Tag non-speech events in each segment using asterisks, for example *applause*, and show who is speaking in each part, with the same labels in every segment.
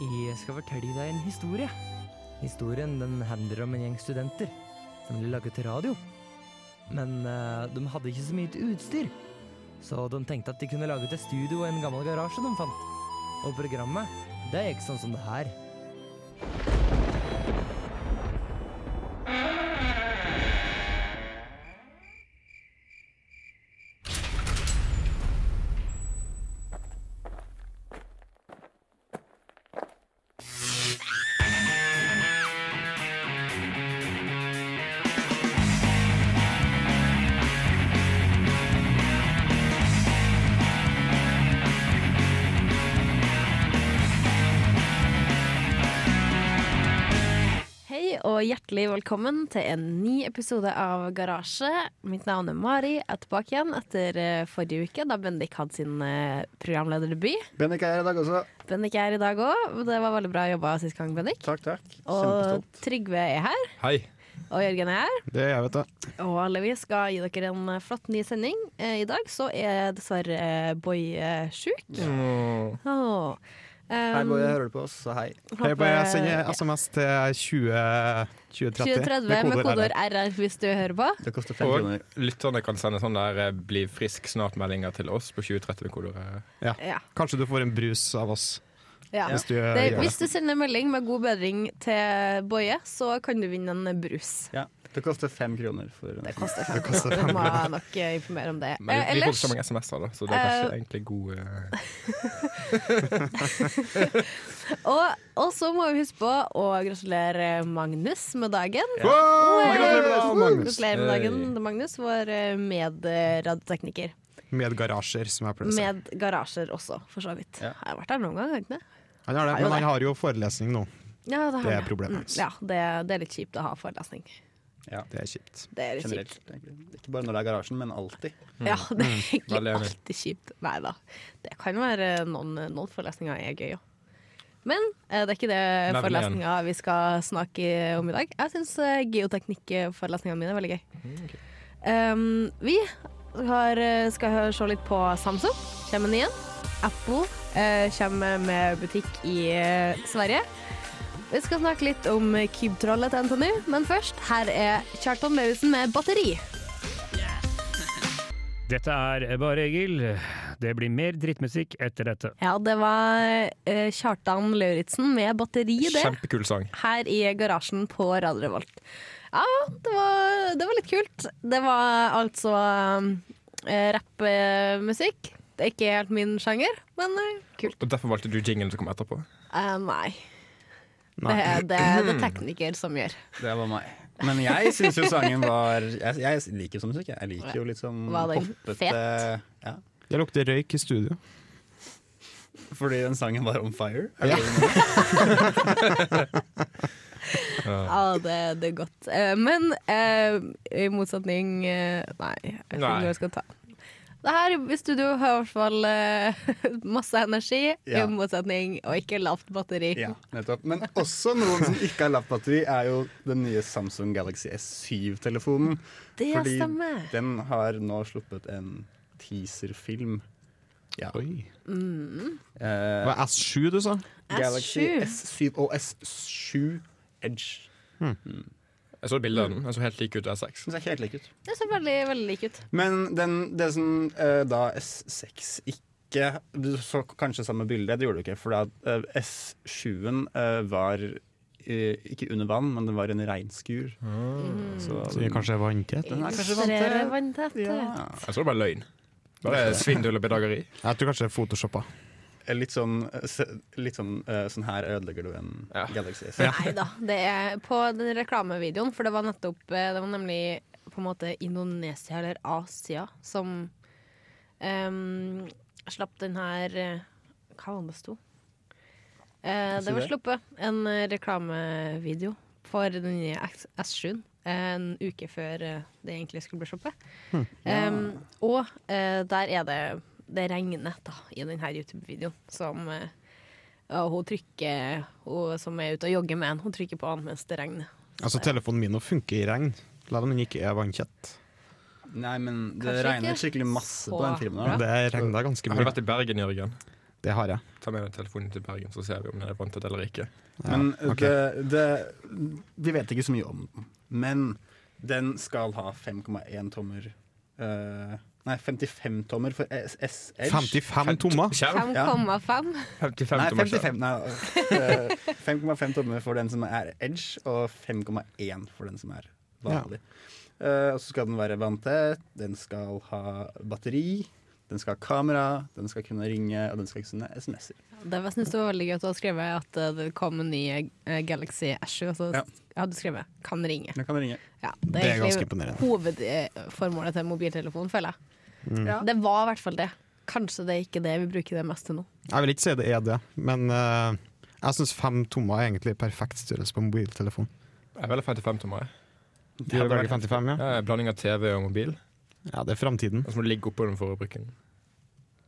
Speaker 1: Jeg skal fortelle deg en historie. Historien den handler om en gjeng studenter som ville lage til radio. Men eh, de hadde ikke så mye til utstyr, så de tenkte at de kunne lage til studio og en gammel garasje de fant. Og programmet, det gikk sånn som det her.
Speaker 2: Hei og hjertelig velkommen til en ny episode av Garasje. Mitt navn er Mari. Jeg er tilbake igjen etter eh, forrige uke, da Bendik hadde sin eh, programlederdebut.
Speaker 3: Bennik er her i dag også.
Speaker 2: Bendik er her i dag òg. Det var veldig bra jobba sist gang, Bendik.
Speaker 3: Takk, takk.
Speaker 2: Og
Speaker 3: Kjempestolt.
Speaker 2: Trygve er her.
Speaker 4: Hei.
Speaker 2: Og Jørgen er her.
Speaker 4: Det er jeg, vet du.
Speaker 2: Og alle vi skal gi dere en eh, flott ny sending. Eh, I dag så er dessverre eh, Boy eh, sjuk. Åh.
Speaker 3: Hei,
Speaker 2: Um,
Speaker 3: Boje, hører du på oss, så hei.
Speaker 4: Hei, bare jeg
Speaker 2: håper-
Speaker 4: sender SMS til 20... 2030
Speaker 2: 2030 med kodeord RR hvis du hører på.
Speaker 3: Det koster fem
Speaker 5: Og
Speaker 3: kroner.
Speaker 5: lytterne kan sende sånn der eh, 'bli frisk snart'-meldinger til oss på 2030 med kodeord. eh.
Speaker 2: Ja.
Speaker 4: Kanskje du får en brus av oss
Speaker 2: ja.
Speaker 4: hvis du eh,
Speaker 2: Det,
Speaker 4: gjør det.
Speaker 2: hvis du sender melding med god bedring til Boje, så kan du vinne en brus.
Speaker 3: Ja, det koster fem kroner for
Speaker 2: Det koster fem
Speaker 4: koster
Speaker 2: kroner. Du må nok eh, informere om det.
Speaker 5: Men vi,
Speaker 2: Eh,
Speaker 5: vi får
Speaker 2: Ellers
Speaker 5: ikke så mange SMS-er, da, så det er kanskje
Speaker 2: Eh,
Speaker 5: egentlig god eh,
Speaker 2: Og, og så må vi huske på å gratulere Magnus med dagen.
Speaker 4: Wow! Gratulerer med dagen, Magnus.
Speaker 2: Gratulerer med dagen,
Speaker 5: Hey.
Speaker 2: Magnus, vår eh, medradiotekniker.
Speaker 4: Med garasjer, som jeg pleier å si.
Speaker 2: Med garasjer også, for så vidt.
Speaker 3: Ja.
Speaker 2: Jeg har vært der noen gang, har jeg ikke det?
Speaker 4: Han har det,
Speaker 2: Har jo
Speaker 4: men
Speaker 2: det.
Speaker 4: han har jo forelesning nå.
Speaker 2: Ja, det, har
Speaker 4: Det er
Speaker 2: vi.
Speaker 4: problemet
Speaker 2: Mm,
Speaker 4: hans.
Speaker 2: Ja, det, det er litt kjipt å ha forelesning.
Speaker 4: Det er kjipt.
Speaker 2: Det er litt
Speaker 3: generelt.
Speaker 2: kjipt.
Speaker 3: egentlig. Ikke bare når det er garasjen, men alltid.
Speaker 2: Ja, det er egentlig
Speaker 5: Mm. Veldig enig.
Speaker 2: alltid kjipt. Nei da. Det kan være noen, noen forelesninger er gøy òg. Men eh, det er ikke det
Speaker 5: Nevn igjen.
Speaker 2: forelesninga vi skal snakke om i dag. Jeg syns eh, geoteknikkforelesningene mine er veldig gøy.
Speaker 5: Mm,
Speaker 2: Um, vi har, eh, skal se litt på Samsung. Kommer den igjen? Apple eh, kommer med butikk i eh, Sverige. Vi skal snakke litt om Cube-trollet til Anthony, men først, her er Kjartan Lauritzen med 'Batteri'.
Speaker 6: Dette er Bare Egil. Det blir mer drittmusikk etter dette.
Speaker 2: Ja, det var eh, Kjartan Lauritzen med batteri det,
Speaker 5: Kjempekul sang.
Speaker 2: her i garasjen på Radio Revolt. Ja, det var, det var litt kult. Det var altså eh, rappmusikk. Det er ikke helt min sjanger, men eh, kult.
Speaker 5: Og Derfor valgte du jinglen som kom etterpå.
Speaker 2: Eh, nei.
Speaker 4: Nei.
Speaker 2: Det, er- det er det tekniker som gjør.
Speaker 3: Det var meg. Men jeg syns
Speaker 2: *laughs*
Speaker 3: jo sangen var Jeg, jeg liker sånn musikk. jeg. Jeg liker jo litt sånn
Speaker 2: Var den
Speaker 3: poppete
Speaker 2: fet?
Speaker 3: ja.
Speaker 4: Det lukter røyk i studio.
Speaker 3: Fordi den sangen var on fire.
Speaker 4: Ja.
Speaker 2: Ja, det, det er godt. Eh, men eh, i motsetning eh, Nei, jeg vet ikke
Speaker 5: Nei.
Speaker 2: hvor jeg skal ta det her i studio har i hvert fall eh, *laughs* masse energi, i
Speaker 3: Ja.
Speaker 2: motsetning og ikke lavt batteri.
Speaker 3: Ja, nettopp. Men også noen som ikke har lavt batteri, er jo den nye Samsung Galaxy S7-telefonen.
Speaker 2: Det stemmer.
Speaker 3: den har nå sluppet en teaserfilm. Ja.
Speaker 4: Oi.
Speaker 3: Eh,
Speaker 4: Det var S7 du sa?
Speaker 3: Galaxy
Speaker 2: S7.
Speaker 3: S7 og S7 Edge.
Speaker 5: Jeg så et bilde av den. Den så helt lik ut til S6.
Speaker 3: Synes jeg ikke helt lik ut.
Speaker 2: Det ser veldig, veldig lik ut.
Speaker 3: Men den, det som eh, da S6 ikke Du så kanskje samme bilde, det gjorde du ikke. For da, eh, S7-en eh, var eh, ikke under vann, men den var i en regnskur.
Speaker 2: Mm.
Speaker 3: Så,
Speaker 4: Så vi kanskje er vanntett?
Speaker 3: den er kanskje
Speaker 2: Illustrerer
Speaker 3: vanntett.
Speaker 2: vanntett.
Speaker 3: Ja.
Speaker 5: Jeg så det bare løgn. Bare svindel og bedageri.
Speaker 4: Jeg tror kanskje det er photoshoppa.
Speaker 3: Litt sånn, eh, se- litt sånn, eh, sånn her ødelegger du en
Speaker 5: Ja.
Speaker 3: Galaxy S.
Speaker 2: Nei da. Det er på den reklamevideoen, for det var nettopp eh, Det var nemlig på en måte Indonesia eller Asia som ehm, em, slapp den her eh, Hva var det det sto? Eh, det
Speaker 3: Si
Speaker 2: var
Speaker 3: det.
Speaker 2: sluppet en eh, reklamevideo for den nye X- S7 en uke før eh, det egentlig skulle bli sluppet. Em, og eh, der er det det regner da, i denne YouTube-videoen som eh, ja, hun trykker Hun som er ute og jogger med en, hun trykker på han mens det regner.
Speaker 4: Altså, telefonen min nå funker i regn. La den ikke er vanntett.
Speaker 3: Nei, men det
Speaker 2: Kanskje
Speaker 3: regner
Speaker 2: ikke
Speaker 3: skikkelig masse på
Speaker 2: så
Speaker 3: den filmen.
Speaker 2: bra.
Speaker 3: her, da.
Speaker 4: Det regna ganske
Speaker 5: Har du
Speaker 4: mye.
Speaker 5: vært i Bergen, Jørgen?
Speaker 4: Det har jeg.
Speaker 5: Ta med deg telefonen til Bergen, så ser vi om den er vantet eller ikke.
Speaker 4: Ja,
Speaker 3: Men
Speaker 4: ok.
Speaker 3: det, det, vi vet ikke så mye om den. Men den skal ha 5,1 tommer eh, Nei, 55 tommer for S- S-Edge.
Speaker 4: 55 tommer?
Speaker 5: Skjerm?
Speaker 2: 5,5.
Speaker 5: 55
Speaker 3: Nei,
Speaker 5: tommer skjerm.
Speaker 3: 55 nei, eh, 5,5 tommer for den som er Edge, og 5,1 for den som er vanlig. Eh, og så skal den være vanntett, den skal ha batteri, den skal ha kamera, den skal kunne ringe, og den skal kunne sende SMS-er.
Speaker 2: Det var, synes det var veldig gøy at du har skrevet at eh, det kom en ny eh, Galaxy S7. Og så
Speaker 3: Ja.
Speaker 2: hadde du skrevet 'kan ringe'.
Speaker 3: Den kan ringe.
Speaker 2: Ja,
Speaker 4: Det er ganske
Speaker 2: egentlig
Speaker 4: imponerende.
Speaker 2: hovedformålet til mobiltelefon, føler jeg.
Speaker 3: Ja.
Speaker 2: Det var i hvert fall det. Kanskje det er ikke det vi bruker det mest til nå.
Speaker 4: Jeg vil ikke si det er det, men eh, jeg syns fem tommer er egentlig perfekt størrelse på mobiltelefon.
Speaker 5: Jeg velger 55 tommer. jeg.
Speaker 4: Du velger 55, ja?
Speaker 5: Ja, blanding av TV og mobil.
Speaker 4: Ja, det er framtiden.
Speaker 5: Og så må du ligge oppå den for å bruke den.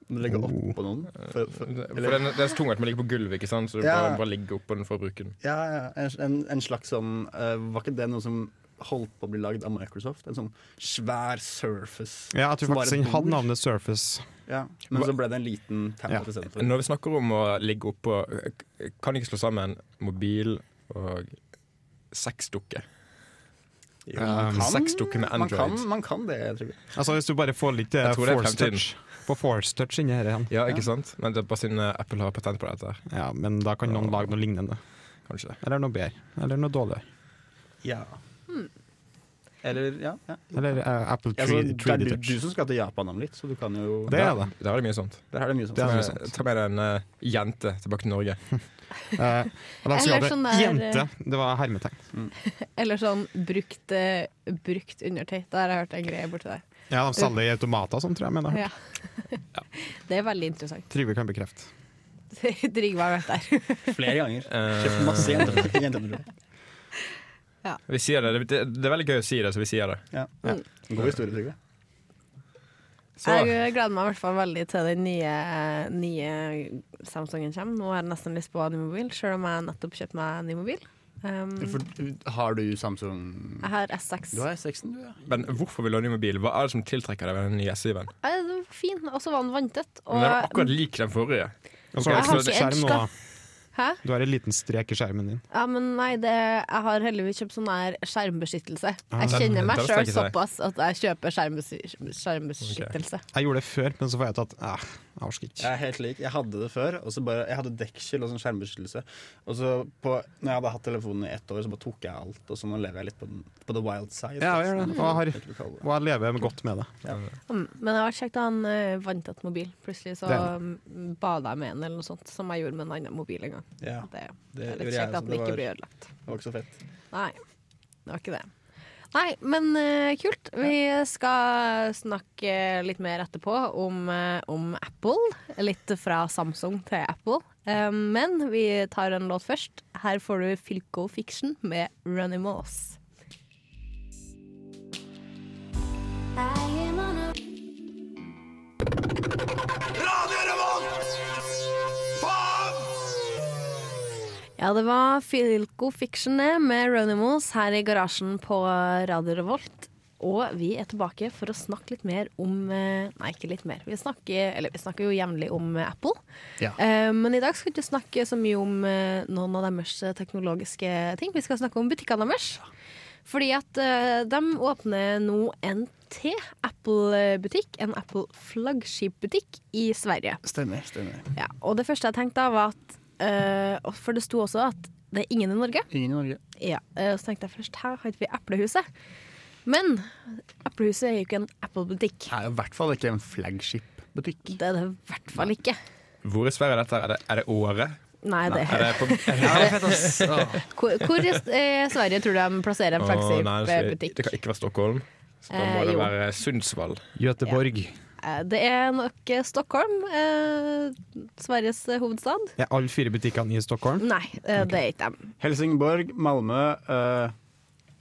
Speaker 3: Den legger opp
Speaker 4: Oh.
Speaker 3: på noen. For, for,
Speaker 5: Eh, For
Speaker 3: eller,
Speaker 5: den, den er så tung at man ligger på gulvet, ikke sant? så du
Speaker 3: Ja.
Speaker 5: bare, bare ligger oppå den for å bruke den.
Speaker 3: ja, ja, en- en, en slags sånn eh, Var ikke det noe som holdt på å bli lagd av Microsoft? En sånn svær surface.
Speaker 4: Ja, jeg tror
Speaker 3: Som bare
Speaker 4: faktisk den
Speaker 3: bor.
Speaker 4: hadde navnet Surface.
Speaker 3: Ja. Men så ble det en liten tablet
Speaker 4: Ja.
Speaker 3: istedenfor.
Speaker 5: Når vi snakker om å ligge oppå Kan ikke slå sammen mobil og sexdukke.
Speaker 3: Jo, man
Speaker 4: Um,
Speaker 3: kan-
Speaker 5: sexdukke med
Speaker 3: man kan,
Speaker 5: Android.
Speaker 3: man kan det, tror jeg.
Speaker 4: Altså Hvis du bare får litt eh,
Speaker 5: Jeg tror det er
Speaker 4: force
Speaker 5: fremtiden.
Speaker 4: touch Få force touch inni her igjen.
Speaker 5: Ja, ikke sant? Men det er bare siden eh, Apple har patent på dette. her
Speaker 4: Ja, men da kan noen lage noe lignende.
Speaker 5: Kanskje
Speaker 4: Eller noe bedre. Eller noe dårligere.
Speaker 3: Ja. Eller, ja. ja.
Speaker 4: Eller eh, Apple
Speaker 3: Altså,
Speaker 4: 3D,
Speaker 3: det er du,
Speaker 4: Touch.
Speaker 3: du som skal til Japan om litt, så du kan jo
Speaker 4: Det er det.
Speaker 5: Der er det mye sånt.
Speaker 3: Der er det mye sånt.
Speaker 4: Det
Speaker 5: Ta
Speaker 4: er mye
Speaker 5: med,
Speaker 4: sånt.
Speaker 5: ta med deg en eh, jente tilbake til Norge.
Speaker 4: Eh, og da skulle
Speaker 2: Eller
Speaker 4: jeg
Speaker 2: sånn
Speaker 4: ha det
Speaker 2: der, eh,
Speaker 4: jente. Det var hermetegn.
Speaker 2: Eller sånn brukt, eh, brukt undertøy. Der har jeg hørt en greie borti der.
Speaker 4: Ja, De selger i automater og sånn, tror jeg. Men jeg
Speaker 2: Ja. *laughs* Det er veldig interessant. *laughs*
Speaker 4: Trygve kan bekrefte.
Speaker 2: Trygve har vært der.
Speaker 3: Flere ganger.
Speaker 5: Eh,
Speaker 3: Kjøpt masse jenter.
Speaker 4: *laughs*
Speaker 3: jenter.
Speaker 5: *laughs* vi sier det. Det, det. det er veldig gøy å si det, så vi sier det.
Speaker 3: Ja. Ja. God historie, Trygve.
Speaker 5: Så
Speaker 2: Jeg gleder meg i hvert fall veldig til den nye, nye Samsungen kommer. Nå har jeg nesten lyst på en ny mobil, sjøl om jeg nettopp kjøpte meg en ny mobil. Um,
Speaker 3: For, har du Samsung
Speaker 2: jeg har S6.
Speaker 3: Du har S6-en, du, ja.
Speaker 5: Men hvorfor vil du ha ny mobil? Hva er det som tiltrekker deg ved den nye SI-en?
Speaker 2: Nei, Den var fin, og så var den vanntett.
Speaker 5: Den er
Speaker 2: Og, eh,
Speaker 5: akkurat lik den forrige. Så
Speaker 4: Og så
Speaker 5: jeg
Speaker 4: har du
Speaker 5: har
Speaker 4: ikke
Speaker 2: ikke
Speaker 4: skjerm
Speaker 2: edge,
Speaker 4: nå,
Speaker 2: da.
Speaker 4: da.
Speaker 2: hæ?
Speaker 4: Du har en liten strek i skjermen din.
Speaker 2: Ja, men nei, det, jeg har heldigvis kjøpt sånn her skjermbeskyttelse. Jeg
Speaker 5: den-
Speaker 2: kjenner meg
Speaker 5: den
Speaker 2: sjøl
Speaker 5: strekker seg.
Speaker 2: såpass at jeg kjøper skjermbesky- skjermbeskyttelse.
Speaker 4: Jeg gjorde det før, men så fant jeg ut at eh, jeg orker
Speaker 3: Jeg
Speaker 4: ikke.
Speaker 3: er helt lik. Jeg hadde det før. Og så bare, jeg hadde dekkskill og sånn skjermbeskyttelse. Og så på, når jeg hadde hatt telefonen i ett år, så bare tok jeg alt. Og så nå lever jeg litt på, den, på the wild side.
Speaker 4: Ja, jeg gjør det. Og jeg, har,
Speaker 3: Vet du hva jeg kaller det.
Speaker 4: og jeg lever godt med det.
Speaker 2: Mm, Men jeg har kjekt å ha en eh, vanntett mobil. Plutselig så
Speaker 4: Det er
Speaker 2: mm, bada jeg med en eller noe sånt, som jeg gjorde med en annen mobil en gang.
Speaker 3: Ja,
Speaker 2: Det,
Speaker 3: det
Speaker 2: er
Speaker 3: gjorde
Speaker 2: litt kjekt
Speaker 3: jeg også.
Speaker 2: at
Speaker 3: Det
Speaker 2: den
Speaker 3: var-
Speaker 2: ikke blir ødelagt.
Speaker 3: det var ikke så fett.
Speaker 2: Nei, det var ikke det. Nei, men eh, kult. Vi skal snakke litt mer etterpå om, eh, om Apple. Litt fra Samsung til Apple. Eh, men vi tar en låt først. Her får du Filco Fiction med Runny Moss. Ja, det var Filco Fiction det, med Ronimos her i garasjen på Radio Revolt. Og vi er tilbake for å snakke litt mer om eh, Nei, ikke litt mer. Vi snakker, eller, vi snakker jo jevnlig om eh, Apple.
Speaker 3: Ja.
Speaker 2: Eh, men i dag skal vi ikke snakke så mye om eh, noen av deres eh, teknologiske ting. Vi skal snakke om butikkene deres. Fordi at eh, de åpner nå en til Apple-butikk, en Apple-flaggskipbutikk i Sverige.
Speaker 3: Stemmer. stemmer.
Speaker 2: Ja, og det første jeg tenkte da var at eh, og For det sto også at det er ingen i Norge.
Speaker 3: Ingen i Norge.
Speaker 2: Ja, eh, Så tenkte jeg først her har ikke vi Eplehuset. Men Eplehuset er jo ikke en Apple-butikk.
Speaker 3: Det er jo i hvert fall ikke en flagship-butikk.
Speaker 2: Det er det i hvert fall ikke.
Speaker 5: Hvor i Sverige er dette? Er det, er det Åre?
Speaker 2: *laughs* Nei, det
Speaker 5: Er det på, er det,
Speaker 3: Ja, det er fett, ass.
Speaker 2: Hvor, hvor i eh, Sverige tror du de plasserer en eh,
Speaker 5: Å, nei, det- det
Speaker 2: flaggskipbutikk?
Speaker 5: kan ikke være Stockholm. Så da
Speaker 2: Eh,
Speaker 5: må det
Speaker 2: jo.
Speaker 5: være Sundsvall.
Speaker 4: Göteborg.
Speaker 2: Eh, Det er nok eh, Stockholm. Eh, Sveriges eh, hovedstad.
Speaker 4: Er alle fire butikkene i Stockholm?
Speaker 2: Nei, eh, det er ikke dem.
Speaker 3: Helsingborg, Malmö eh,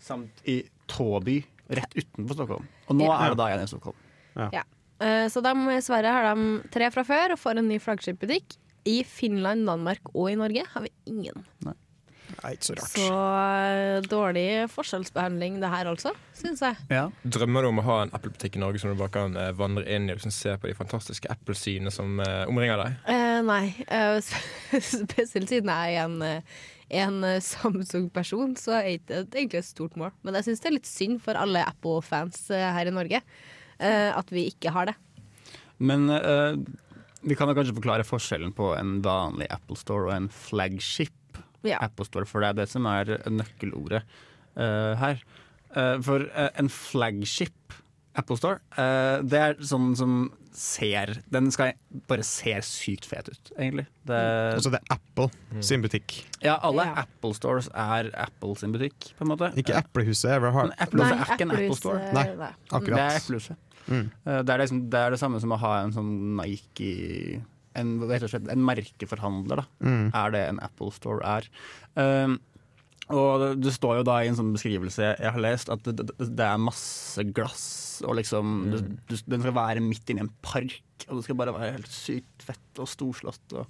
Speaker 3: samt i Tåby, rett utenfor Stockholm. Og nå
Speaker 2: Ja.
Speaker 3: er det da igjen i Stockholm.
Speaker 2: Ja. Eh, Så de, i Sverige har de tre fra før og får en ny flaggskipbutikk. I Finland, Danmark og i Norge har vi ingen.
Speaker 4: Nei, ikke så rart.
Speaker 2: Så eh, dårlig forskjellsbehandling det her altså, syns jeg.
Speaker 5: Drømmer du om å ha en Apple-butikk i Norge som du bare kan eh, vandre inn i og liksom se på de fantastiske Apple-synene som eh, omringer deg?
Speaker 2: Eh, Eh, nei. Eh, *laughs* spesielt siden jeg er en, eh, en eh, Samsung-person, så er det egentlig et stort mål. Men jeg syns det er litt synd for alle Apple-fans eh, her i Norge eh, at vi ikke har det.
Speaker 3: Men eh, vi kan jo kanskje forklare forskjellen på en vanlig Apple Store og en flagship
Speaker 2: Ja.
Speaker 3: Apple Store, for det er det som er nøkkelordet eh, her. Eh, for eh, en flagship Apple Store, eh, det er sånn som ser Den skal bare ser sykt fet ut, egentlig. Det,
Speaker 4: Altså, det er Apple sin butikk.
Speaker 3: ja, alle
Speaker 2: Ja.
Speaker 3: Apple Stores er Apple sin butikk, på en måte.
Speaker 4: Ikke Applehuset. Jeg vil ha
Speaker 3: Men Apple Store er ikke en
Speaker 2: Apples,
Speaker 3: Apple Store.
Speaker 2: eh, nei.
Speaker 4: Nei.
Speaker 3: Det er
Speaker 4: akkurat.
Speaker 3: Applehuset.
Speaker 4: Mm.
Speaker 3: Eh, Det er, liksom, det er det samme som å ha en sånn Nike En, hva heter det, slett, en merkeforhandler, da.
Speaker 4: Mm.
Speaker 3: Er det en Apple Store er. Um, og det- det står jo da i en sånn beskrivelse jeg har lest, at det, det, det er masse glass, og liksom du, du, Den skal være midt inne i en park, og det skal bare være helt sykt fett og storslått. Og,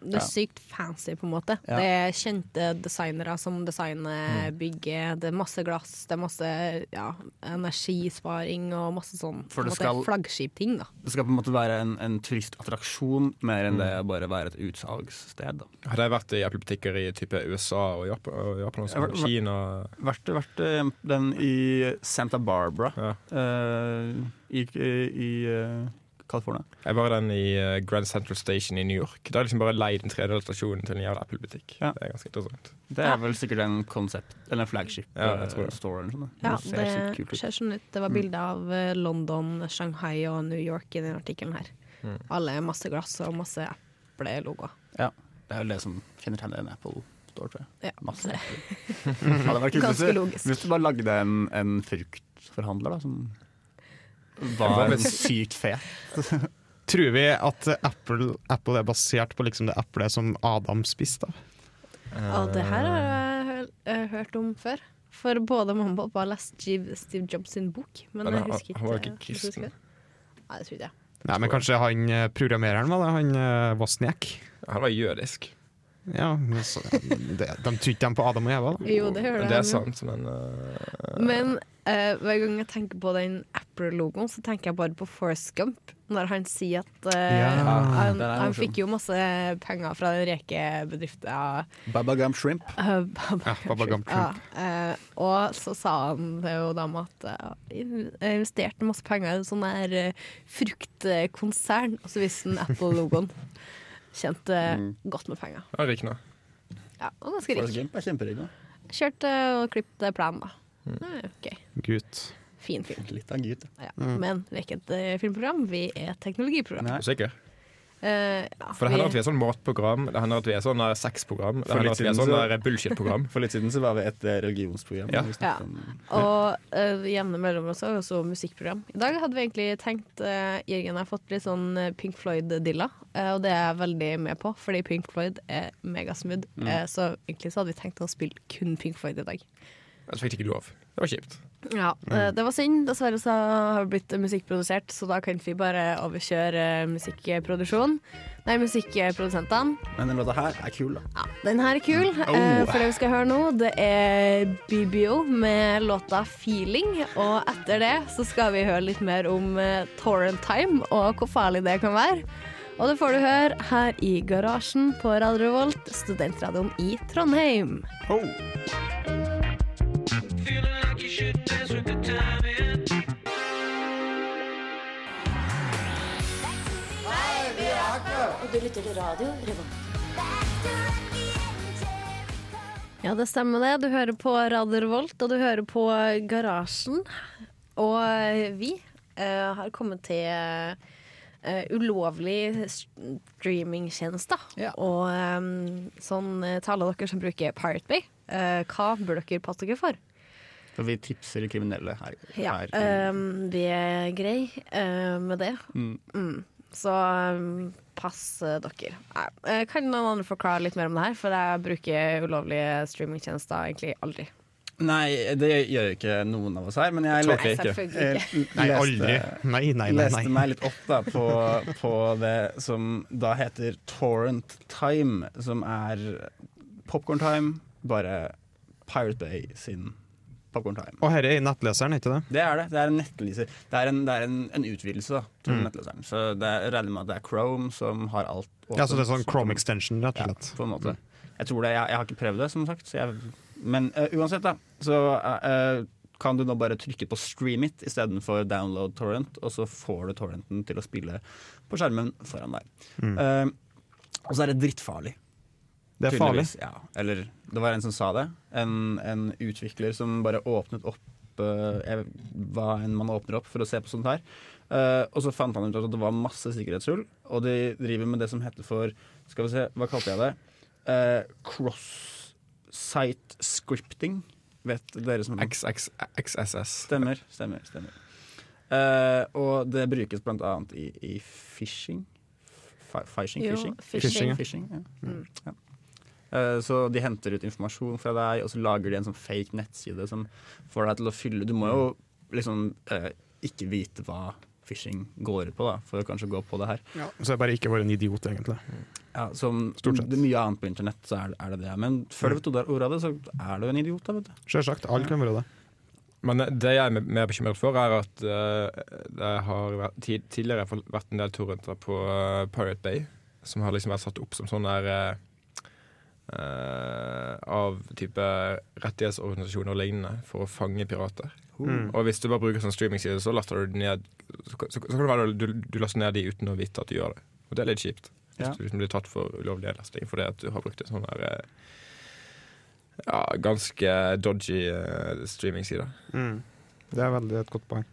Speaker 2: Det er sykt fancy, på en måte.
Speaker 3: Ja. Mm.
Speaker 2: Det er kjente designere som designer bygget. Det er masse glass, det er masse ja, energisparing og masse sånn
Speaker 3: For
Speaker 2: på en
Speaker 3: det
Speaker 2: måte
Speaker 3: skal-
Speaker 2: flaggskipting, da.
Speaker 3: det skal på en måte være en, en turistattraksjon mer enn det å bare være et utsalgssted. Da.
Speaker 5: Hadde jeg vært i Apple-butikker i type USA og Japan, og Japan også,
Speaker 3: Ja, hva-
Speaker 5: Kina
Speaker 3: Vært, vært eh, den i Santa Barbara
Speaker 5: ja.
Speaker 3: eh, i, i eh, California.
Speaker 5: Jeg var i den i eh, Grand Central Station i New York. Da er liksom bare leid den tredje stasjonen til en jævla Apple-butikk.
Speaker 3: Ja.
Speaker 5: Det er ganske interessant.
Speaker 3: Det er vel sikkert en konsept, eller en flagship
Speaker 5: Ja, jeg tror
Speaker 3: eh,
Speaker 5: det.
Speaker 3: store. Eller noe sånt, da.
Speaker 2: Ja,
Speaker 3: ser sykt
Speaker 2: det
Speaker 3: kult ut. Mm.
Speaker 2: ser sånn ut. Det var bilder av eh, London, Shanghai og New York i den artikkelen her.
Speaker 3: Mm.
Speaker 2: Alle er masse glass og masse Apple-logoer.
Speaker 3: Ja, det er vel det som kjennetegner en Apple Store, tror jeg.
Speaker 2: Ja.
Speaker 3: Masse Apple.
Speaker 2: *laughs*
Speaker 3: Ja, det hadde vært kult hvis
Speaker 2: Ganske
Speaker 3: du,
Speaker 2: logisk.
Speaker 3: hvis du bare lagde en, en fruktforhandler da, som
Speaker 5: Hva
Speaker 3: var
Speaker 5: med-
Speaker 3: sykt fet.
Speaker 4: Tror vi at Apple, Apple er basert på liksom det eplet som Adam spiste av?
Speaker 2: Og det her har jeg hø- eh, hørt om før. For både mamma og pappa har lest Steve, Steve Jobs sin bok. Men
Speaker 5: Ja, men
Speaker 2: jeg
Speaker 5: han-
Speaker 2: husker ikke
Speaker 5: han var jo ikke
Speaker 2: jeg husker
Speaker 5: kristen.
Speaker 2: det. Nei, det tror jeg ikke.
Speaker 4: Nei, men kanskje han eh, programmereren var det? Han eh, Wozniak?
Speaker 5: Han var jødisk.
Speaker 4: Ja, men så, det, de tror ikke de på Adam og Eva, da?
Speaker 2: Jo, det hører
Speaker 5: Det
Speaker 2: jeg.
Speaker 5: er sant, men eh,
Speaker 2: Men eh, hver gang jeg tenker på den Apple-logoen, så tenker jeg bare på Forrest Gump. Når han sier at eh,
Speaker 4: Ja,
Speaker 2: han,
Speaker 3: den er
Speaker 2: han
Speaker 3: morsom.
Speaker 2: fikk jo masse penger fra den rekebedriften.
Speaker 3: Baba Gum Shrimp.
Speaker 2: Uh, Baba
Speaker 4: Ja, Baba Gump Shrimp.
Speaker 2: Ja, eh, og så sa han det jo da med at eh, jeg investerte masse penger i en sånn der eh, fruktkonsern, og så viste han Apple-logoen. Tjente godt med penger.
Speaker 5: han er rik nå.
Speaker 2: Ja, og ganske rik.
Speaker 3: Gump er kjemperydda.
Speaker 2: Kjørte og klippet planen, da. Eh, ok,
Speaker 4: Gutt.
Speaker 2: Fin film.
Speaker 3: Litt av en gutt.
Speaker 2: Ja. Men vi er ikke et eh, filmprogram, vi er et teknologiprogram.
Speaker 3: Nei.
Speaker 5: Er du sikker?
Speaker 2: Eh, ja,
Speaker 5: For det hender at
Speaker 2: vi-
Speaker 5: vi er sånn matprogram, det hender at vi er sånn der sexprogram, det
Speaker 3: For
Speaker 5: hender
Speaker 3: litt
Speaker 5: at vi er
Speaker 3: siden
Speaker 5: sånn
Speaker 3: så-
Speaker 5: der
Speaker 3: *laughs*
Speaker 5: bullshit-program.
Speaker 3: For litt siden så var vi et eh, religionsprogram.
Speaker 5: Ja.
Speaker 3: og vi snakket om-
Speaker 2: Og uh, jevne mellom oss er også musikkprogram. I dag hadde vi egentlig tenkt eh, Jørgen har fått litt sånn eh, Pink Floyd-dilla, eh, og det er jeg veldig med på, fordi Pink Floyd er megasmooth. Eh, så egentlig så hadde vi tenkt å spille kun Pink Floyd i dag.
Speaker 5: Så fikk de ikke lov. Det var kjipt.
Speaker 2: Ja, eh, Det var synd. Dessverre så har det blitt musikkprodusert, så da kan vi bare overkjøre eh, musikkproduksjon. Nei, musikkprodusentene.
Speaker 3: Men den låta her er kul, da.
Speaker 2: Ja, den her er kul. Eh, for det vi skal høre nå, det er BBO med låta 'Feeling'. Og etter det så skal vi høre litt mer om eh, Torrent Time og hvor farlig det kan være. Og det får du høre her i garasjen på Radio Revolt, studentradioen i Trondheim.
Speaker 7: Og du lytter til radio Revolt.
Speaker 2: Ja, det stemmer det. Du hører på Radio Revolt, og du hører på Garasjen. Og eh, vi eh, har kommet til eh, ulovlig st- streamingtjenester. Og eh, sånn eh, til alle dere som bruker Pirate Bay, eh, hva bør dere passe dere for?
Speaker 3: For vi tipser kriminelle her.
Speaker 2: Ja,
Speaker 3: her.
Speaker 2: ehm, vi er grei eh, med det.
Speaker 3: Mm.
Speaker 2: Mm. Så ehm, pass eh, dere. Nei, eh, kan noen andre forklare litt mer om det her? For jeg bruker ulovlige streamingtjenester egentlig aldri.
Speaker 3: Nei, det gjør jo ikke noen av oss her, men jeg Eh,
Speaker 5: Totally
Speaker 2: Nei,
Speaker 5: Eh,
Speaker 2: selvfølgelig ikke.
Speaker 4: Nei, aldri. Nei, nei, nei.
Speaker 3: leste
Speaker 4: nei.
Speaker 3: meg litt opp da, på, på det som da heter Torrent Time, som er Popcorn Time, bare Pirate Bay sin Popcorn Time.
Speaker 4: Og her er i nettleseren, ikke det?
Speaker 3: Det er det. Det er en nettleser. Det er en, det er en, en utvidelse da, til
Speaker 4: Mm.
Speaker 3: nettleseren. Så det er, jeg regner med at det er Chrome som har alt.
Speaker 4: Ja, så det er sånn
Speaker 3: åpent.
Speaker 4: Chrome extension, rett og slett. Mm.
Speaker 3: Ja, på en måte. Jeg tror det, jeg, jeg har ikke prøvd det, som sagt. Så jeg, men eh, uansett, da. Så eh, eh, kan du nå bare trykke på stream it istedenfor download torrent, og så får du torrenten til å spille på skjermen foran deg.
Speaker 4: Mm.
Speaker 3: Eh, og så er det drittfarlig.
Speaker 4: Det er farlig.
Speaker 3: tydeligvis. Ja. Eller det var en som sa det. En, en utvikler som bare åpnet opp eh, jeg, hva enn man åpner opp for å se på sånt her. Eh, og så fant han ut at det var masse sikkerhetshull, og de driver med det som heter for Skal vi se, hva kalte jeg det? Eh, Cross-site scripting. Vet dere som
Speaker 5: XX, XSS.
Speaker 3: Stemmer, stemmer, stemmer. Eh, og det brukes blant annet i, i phishing. Fi- Phishing,
Speaker 2: Jo,
Speaker 3: phishing.
Speaker 2: phishing.
Speaker 3: Phishing, ja.
Speaker 2: Mm.
Speaker 3: Ja. Eh, Så de henter ut informasjon fra deg, og så lager de en sånn fake nettside som får deg til å fylle Du må jo liksom eh, ikke vite hva phishing går ut på, da, for å kanskje gå på det her.
Speaker 4: Ja. Så jeg bare ikke vært en idiot, egentlig.
Speaker 3: Ja, som
Speaker 4: Stort sett. Mm.
Speaker 3: det er mye annet på internett, så er det er det. det. Men før du vet ordet av det, så er du en idiot, da, vet du.
Speaker 4: Selvsagt, Alle kan være det.
Speaker 5: Men det jeg er mer bekymret for, er at eh, det har vært, tid, tidligere har vært en del torrenter på eh, Pirate Bay, som har liksom vært satt opp som sånn der eh, eh, Av type rettighetsorganisasjoner og lignende for å fange pirater.
Speaker 4: Mm.
Speaker 5: Og hvis du bare bruker sånn streamingside, så laster du det ned så, kan- så, så kan det være du, du laster ned de uten å vite at du gjør det. Og det er litt kjipt. Hvis
Speaker 3: Ja.
Speaker 5: du liksom blir tatt for ulovlig lasting fordi at du har brukt en sånn der eh, ja, ganske dodgy eh, streamingside.
Speaker 3: Mm.
Speaker 4: Det er veldig et godt poeng.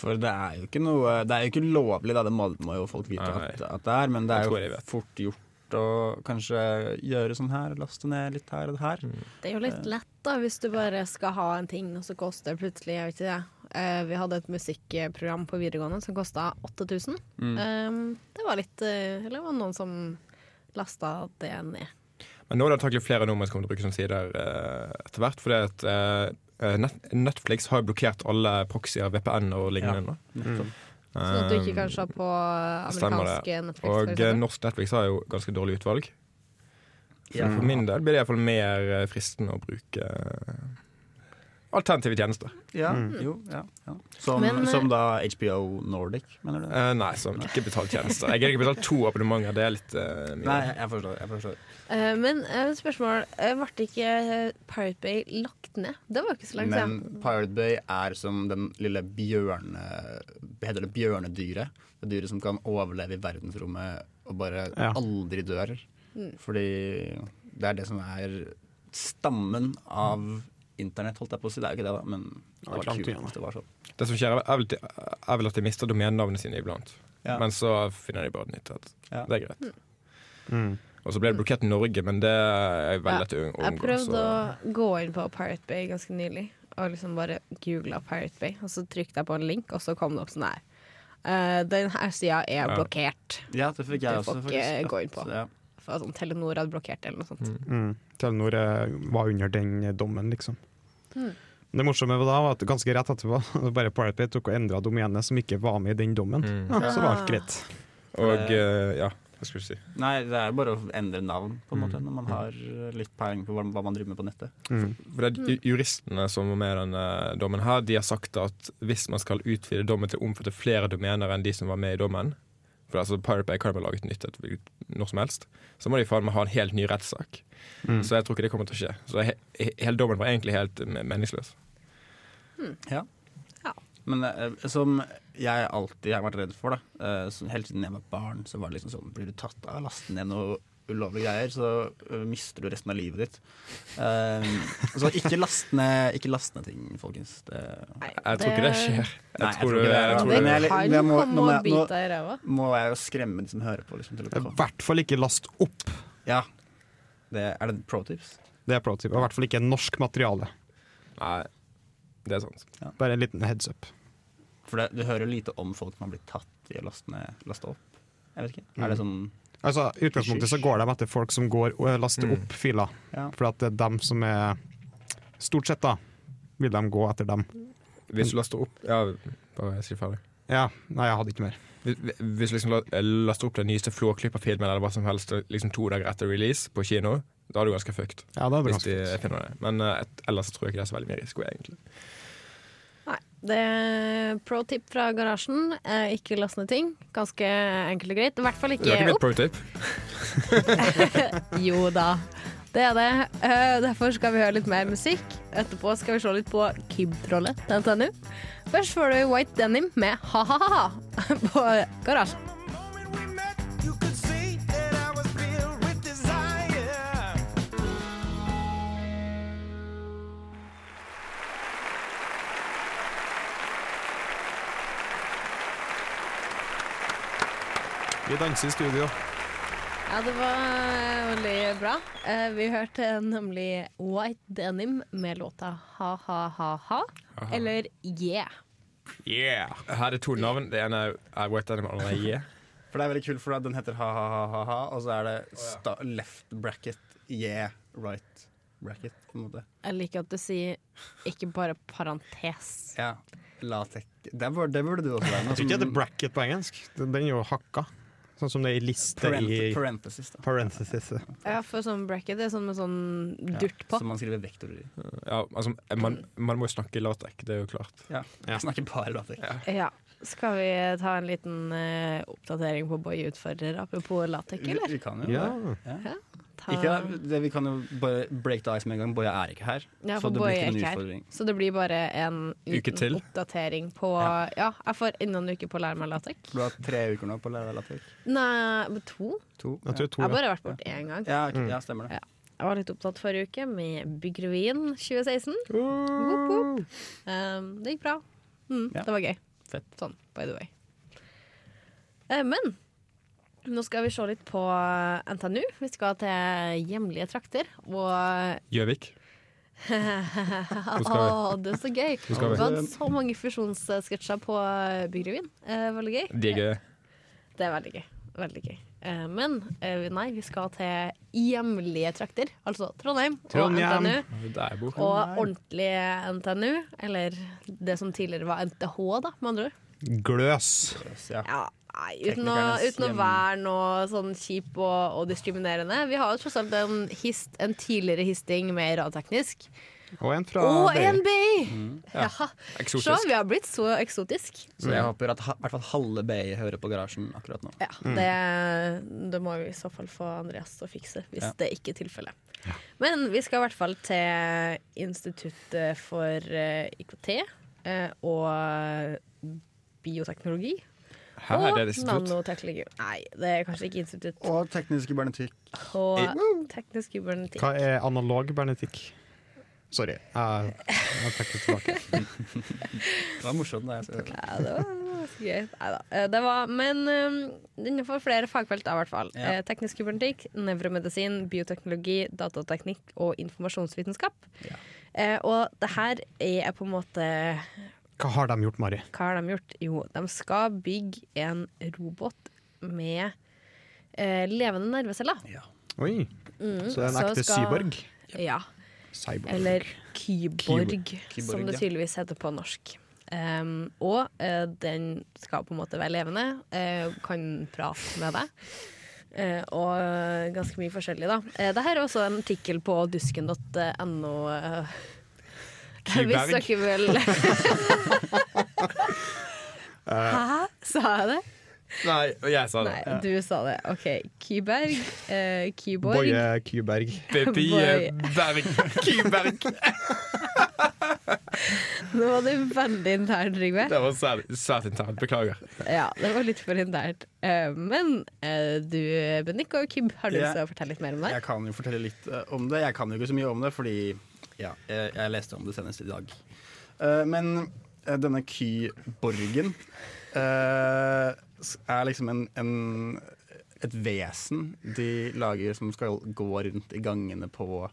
Speaker 3: For det er jo ikke noe Det er jo ikke lovlig, da. Det må, må jo folk vite
Speaker 5: Nei.
Speaker 3: at, at det er, men det
Speaker 5: Jeg
Speaker 3: er
Speaker 5: tror jeg
Speaker 3: jo
Speaker 5: vet.
Speaker 3: fort gjort å kanskje gjøre sånn her, laste ned litt her og her.
Speaker 5: Mm.
Speaker 2: Det er jo litt lett da, hvis du bare skal ha en ting, og så koster det plutselig jeg vet ikke det. Eh, vi hadde et musikkprogram på videregående som kosta 8000.
Speaker 5: Mm.
Speaker 2: Eh, det var litt eh, Eller det var noen som lasta det ned.
Speaker 5: Men nå er det antakelig flere nordmenn som kommer til å bruke sånne sider eh, etter hvert. Fordi at eh, Net Netflix har jo blokkert alle proxyer, VPN og
Speaker 3: Ja.
Speaker 5: lignende.
Speaker 3: Nettopp.
Speaker 5: nå.
Speaker 2: Sånn at du ikke
Speaker 5: Eh,
Speaker 2: kan se på eh,
Speaker 5: stemmer det.
Speaker 2: amerikanske Netflix. for
Speaker 5: Og eh,
Speaker 2: eksempel.
Speaker 5: norsk Netflix har jo ganske dårlig utvalg. Så for min del blir det iallfall mer eh, fristende å bruke eh, alternative tjenester.
Speaker 3: Ja, jo, ja, ja. Som,
Speaker 2: Men, eh,
Speaker 3: som da HBO Nordic, mener du?
Speaker 5: Eh, nei, som ikke betalt tjenester. Jeg har ikke betalt to abonnementer, det er litt eh, mye.
Speaker 3: Nei, jeg- jeg forstår. Jeg forstår.
Speaker 2: Eh, men eh, spørsmål eh, Ble ikke eh, Pirate Bay lagt ned? Det var ikke så langt
Speaker 3: Men
Speaker 2: siden.
Speaker 3: Pirate Bay er som den lille bjørne... Hva heter det? Bjørnedyret. Det dyret som kan overleve i verdensrommet og bare
Speaker 4: Ja.
Speaker 3: aldri dør.
Speaker 2: Mm.
Speaker 3: Fordi det er det som er stammen av internett, holdt jeg på å si. Det er jo ikke det, da, men det
Speaker 4: Det er
Speaker 3: var
Speaker 4: langt
Speaker 3: kult
Speaker 4: igjen, da.
Speaker 3: hvis det var sånn.
Speaker 5: Det som skjer, er vel, er vel at de mister domenenavnene sine iblant.
Speaker 3: Ja.
Speaker 5: Men så finner de bare et nytt et.
Speaker 3: Ja.
Speaker 5: Det er greit.
Speaker 4: Mm.
Speaker 5: Og så ble det blokkert i Norge, men det er
Speaker 2: Ja,
Speaker 5: veldig lett å unngå.
Speaker 2: Jeg prøvde
Speaker 5: så-
Speaker 2: å gå inn på Pirate Bay ganske nylig og liksom bare googla Pirate Bay, og så trykte jeg på en link, og så kom det opp sånn her. Eh, den her sida er
Speaker 5: Ja.
Speaker 2: blokkert.
Speaker 3: Ja, det fikk
Speaker 2: Det
Speaker 3: jeg
Speaker 2: får
Speaker 3: også,
Speaker 2: ikke
Speaker 3: faktisk.
Speaker 2: gå inn på.
Speaker 3: Så, ja.
Speaker 2: For sånn Telenor hadde blokkert det, eller noe sånt.
Speaker 4: Mm. Telenor eh, var under den eh, dommen, liksom. Det morsomme da var at ganske rett etterpå *laughs* bare Pirate Bay tok og endra domenet som ikke var med i den dommen.
Speaker 3: Mm.
Speaker 4: Ja, så var alt greit.
Speaker 5: Og eh, ja, hva skulle du si.
Speaker 3: Nei, det er jo bare å endre navn, på en måte, når man har eh, litt peiling på hva hva man driver med på nettet.
Speaker 4: Mm.
Speaker 5: For det er ju- juristene som var med i denne dommen her, de har sagt at hvis man skal utvide dommen til å omfatte flere domener enn de som var med i dommen, for altså Pirate Bay kan jo lage et nytt et hvilket- når som helst, så må de faen meg ha en helt ny rettssak. Så jeg tror ikke det kommer til å skje. Så he he hele dommen var egentlig helt eh, meningsløs.
Speaker 3: Ja.
Speaker 2: Ja.
Speaker 3: Men eh, som jeg alltid har vært redd for, da eh, så helt siden jeg var barn, så var det liksom sånn Blir du tatt av lasten ned noe ulovlige greier, så eh, mister du resten av livet ditt. Eh, så ikke last ned ikke last ned ting, folkens. Det
Speaker 2: Nei,
Speaker 5: Jeg tror ikke det skjer. Jeg
Speaker 3: Nei, jeg
Speaker 5: tror
Speaker 3: tror ikke
Speaker 5: det-
Speaker 3: det.
Speaker 5: jeg tror
Speaker 3: Men
Speaker 5: det-
Speaker 3: jeg-
Speaker 2: Det kan
Speaker 3: jeg må- nå
Speaker 2: komme
Speaker 3: må
Speaker 2: og
Speaker 3: jeg- nå-
Speaker 2: bite deg i ræva.
Speaker 3: må jeg jo skremme de som hører på. Liksom, til
Speaker 4: I
Speaker 3: å
Speaker 4: hvert fall ikke last opp.
Speaker 3: ja. det, er det pro tips?
Speaker 4: Det er pro-tip. Og I hvert fall ikke norsk materiale.
Speaker 5: Nei, det er sant.
Speaker 4: Bare en liten heads up.
Speaker 3: For det, du hører jo lite om folk som har blitt tatt i å laste ned- laste opp. Jeg vet ikke. Er det sånn
Speaker 4: Altså, I utgangspunktet så går de etter folk som går og laster opp filer.
Speaker 3: Ja.
Speaker 4: For at det er dem som er Stort sett, da, vil de gå etter dem.
Speaker 5: Hvis du laster opp Ja, bare si ferdig.
Speaker 4: Ja, Nei, jeg hadde ikke mer.
Speaker 5: Hvis- Hvis du liksom la- laster opp den nyeste Flåklypa-filmen eller hva som helst liksom to dager etter release på kino, da er du ganske fucked.
Speaker 4: Ja, det hadde
Speaker 5: Hvis
Speaker 4: ganske
Speaker 5: de
Speaker 4: fint.
Speaker 5: finner det. Men eh, et, ellers tror jeg ikke det er så veldig mye risiko, egentlig.
Speaker 2: Nei. Det er pro tip fra garasjen. Eh, ikke last ned ting. Ganske enkelt og greit. I hvert fall
Speaker 5: Det er
Speaker 2: ikke
Speaker 5: ikke et
Speaker 2: opp.
Speaker 5: pro tip.
Speaker 2: Jo da. Det er det. Eh, derfor skal vi høre litt mer musikk. Etterpå skal vi se litt på Kib-trollet til NTNU. Først får du White Denim med ha-ha-ha *laughs* på garasjen.
Speaker 4: Vi danser i studio.
Speaker 2: Ja, det var veldig bra. Eh, vi hørte nemlig White Denim med låta Ha-ha-ha-ha, eller Yeah.
Speaker 4: Yeah!
Speaker 5: Her er det to navn. Det ene er- er White Animal, og det andre er Yeah.
Speaker 3: For det er veldig kult, for den heter ha-ha-ha-ha, og så er det sta left bracket, yeah, right bracket, på en måte.
Speaker 2: Jeg liker at du sier ikke bare parentes.
Speaker 3: Ja. Latek. Det, bør, det burde du også være. noe
Speaker 4: Jeg tror ikke det
Speaker 3: som-
Speaker 4: er bracket på engelsk. Den den er jo hakka. Sånn som det er i liste i
Speaker 3: parent- Parenthesis, da.
Speaker 4: parenthesis.
Speaker 2: Ja, for sånn bracket det er sånn med sånn durt på.
Speaker 3: Som man skriver vektorer i.
Speaker 5: Ja, altså, man, man må jo snakke i latek, det er jo klart.
Speaker 3: Ja.
Speaker 4: Ja.
Speaker 3: Snakker bare latek.
Speaker 2: Ja. Skal vi ta en liten eh, oppdatering på Boy Utfordrer, apropos latek,
Speaker 3: Vi,
Speaker 2: eller?
Speaker 3: vi kan jo
Speaker 4: Ja.
Speaker 3: det.
Speaker 2: Ta...
Speaker 3: Ikke, det, vi kan jo bare break the ice med en gang. Boje er ikke her.
Speaker 2: Ja,
Speaker 3: så
Speaker 2: for
Speaker 3: det blir
Speaker 2: Boy
Speaker 3: ikke
Speaker 2: er
Speaker 3: noen
Speaker 2: ikke her.
Speaker 3: utfordring.
Speaker 2: Så det blir bare en
Speaker 5: Uke
Speaker 2: liten
Speaker 5: til.
Speaker 2: oppdatering på
Speaker 3: Ja.
Speaker 2: Ja, jeg får enda en uke på å lære meg latek.
Speaker 3: Du har tre uker nå på å lære deg latek.
Speaker 2: Nei, to?
Speaker 3: To.
Speaker 4: Jeg tror to,
Speaker 2: Jeg har
Speaker 4: ja.
Speaker 2: bare vært borte én gang.
Speaker 3: Ja, ok,
Speaker 4: Mm.
Speaker 3: ja, stemmer det.
Speaker 2: Ja. Jeg var litt opptatt forrige uke med Byggrevyen 2016. Whoop, whoop. Um, det gikk bra. Mm,
Speaker 3: Ja.
Speaker 2: Det var gøy.
Speaker 3: Fett.
Speaker 2: Sånn, by the way. Eh, men nå skal vi se litt på eh, NTNU. Vi skal til hjemlige trakter. Og
Speaker 5: Gjøvik. Hvor skal
Speaker 2: *laughs*
Speaker 5: vi?
Speaker 2: å, det er så gøy!
Speaker 5: skal vi?
Speaker 2: Vi hadde så mange fusjonssketsjer på Byggrevyen. Eh, veldig gøy.
Speaker 5: De er gøye.
Speaker 2: Det er veldig gøy. Veldig gøy. Eh, men eh, nei, vi skal til hjemlige trakter. Altså Trondheim,
Speaker 4: Trondheim.
Speaker 2: og NTNU.
Speaker 5: Der jeg bor.
Speaker 2: Og ordentlig NTNU, eller det som tidligere var NTH, da, med andre ord.
Speaker 4: Gløs.
Speaker 3: Yes, ja.
Speaker 2: Ja, nei, uten, å,
Speaker 3: Teknikernes
Speaker 2: uten å
Speaker 3: hjem.
Speaker 2: være noe sånn kjip og, og diskriminerende. Vi har jo tross alt en, hist, en tidligere histing med radioteknisk.
Speaker 4: Og en fra
Speaker 2: Og
Speaker 4: BI.
Speaker 2: en BI! Jaha. Så
Speaker 5: Eksotisk.
Speaker 2: vi har blitt så eksotisk.
Speaker 3: Så jeg håper at ha- i hvert fall halve BI hører på Garasjen akkurat nå.
Speaker 2: Ja, det, det må vi i så fall få Andreas å fikse, hvis
Speaker 3: Ja.
Speaker 2: det ikke er tilfellet. Men vi skal i hvert fall til Instituttet for eh, IKT eh, og bioteknologi.
Speaker 5: Hæ,
Speaker 2: og
Speaker 5: det er det institutt.
Speaker 2: nanoteknologi. Nei, det er kanskje ikke institutt.
Speaker 3: Og teknisk kybernetikk.
Speaker 5: Eh.
Speaker 2: Og teknisk kybernetikk.
Speaker 4: Hva er analog bernetikk? Sorry, jeg, jeg trekker
Speaker 2: *laughs*
Speaker 4: tilbake.
Speaker 3: Det var morsomt. da jeg så det.
Speaker 2: Ja, det var, det var så gøy. Neida. Eh, Det var, men eh, innenfor flere fagfelt, da, i hvert fall.
Speaker 3: Ja.
Speaker 2: Eh, Teknisk kybernetikk, nevromedisin, bioteknologi, datateknikk og informasjonsvitenskap.
Speaker 3: Ja.
Speaker 2: Eh, og det her er på en måte
Speaker 4: Hva har de gjort, Mari?
Speaker 2: Hva har de gjort? Jo, de skal bygge en robot med eh, levende nerveceller.
Speaker 4: Oi, så det er en
Speaker 2: Mm, så
Speaker 4: ekte
Speaker 2: skal-
Speaker 4: cyborg?
Speaker 2: Ja.
Speaker 4: Cyborg.
Speaker 2: Eller kyborg,
Speaker 3: Kyborg,
Speaker 2: som det
Speaker 3: ja.
Speaker 2: tydeligvis heter på norsk. Um, og eh, den skal på en måte være levende, eh, kan prate med deg. eh, og ganske mye forskjellig, da. Uh, Dette er også en artikkel på dusken.no. eh, hvis
Speaker 4: Kyberg.
Speaker 2: dere vil Hæ? Sa jeg det?
Speaker 5: Nei, og jeg sa det.
Speaker 2: Nei, du sa det. OK. Kyberg, eh, Kyborg
Speaker 4: Boje
Speaker 2: *laughs*
Speaker 4: Kyberg.
Speaker 5: Baby
Speaker 2: Boy.
Speaker 5: Berg.
Speaker 2: *laughs*
Speaker 5: Kyberg.
Speaker 2: Nå var det veldig internt, Trygve.
Speaker 5: Det var svært, svært internt. Beklager.
Speaker 2: Ja, det var litt for internt. Eh, Men eh, du, Bennik og Kib, har du lyst til å fortelle litt mer om det?
Speaker 3: Jeg kan jo fortelle litt eh, om det. Jeg kan jo ikke så mye om det, fordi ja, jeg, jeg leste om det senest i dag. Eh, men eh, denne Kyborgen eh, s- er liksom en, en, et vesen de lager som skal gå rundt i gangene på,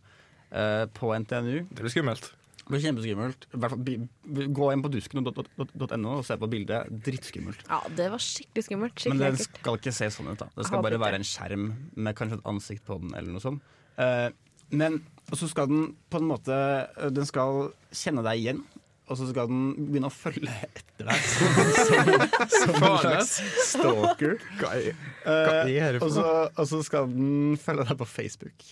Speaker 3: eh, på NTNU.
Speaker 5: Det blir skummelt.
Speaker 3: Det blir kjempeskummelt. I hvert fall bi- bi- Gå inn på dusken.no og se på bildet. Drittskummelt.
Speaker 2: Ja, det var skikkelig skummelt.
Speaker 3: Men
Speaker 2: Skikkelig
Speaker 3: den
Speaker 2: ekkelt.
Speaker 3: skal ikke se sånn ut. da Det
Speaker 2: Jeg
Speaker 3: skal
Speaker 2: håper
Speaker 3: bare
Speaker 2: ikke.
Speaker 3: være en skjerm med kanskje et ansikt på den. eller noe sånt Eh, Men og så skal den på en måte Den skal eh, kjenne deg igjen og så skal den begynne å følge *laughs* etter deg som, som en slags stalker.
Speaker 4: Hva er,
Speaker 3: Eh,
Speaker 4: er det for
Speaker 3: og, så, og så skal den følge deg på Facebook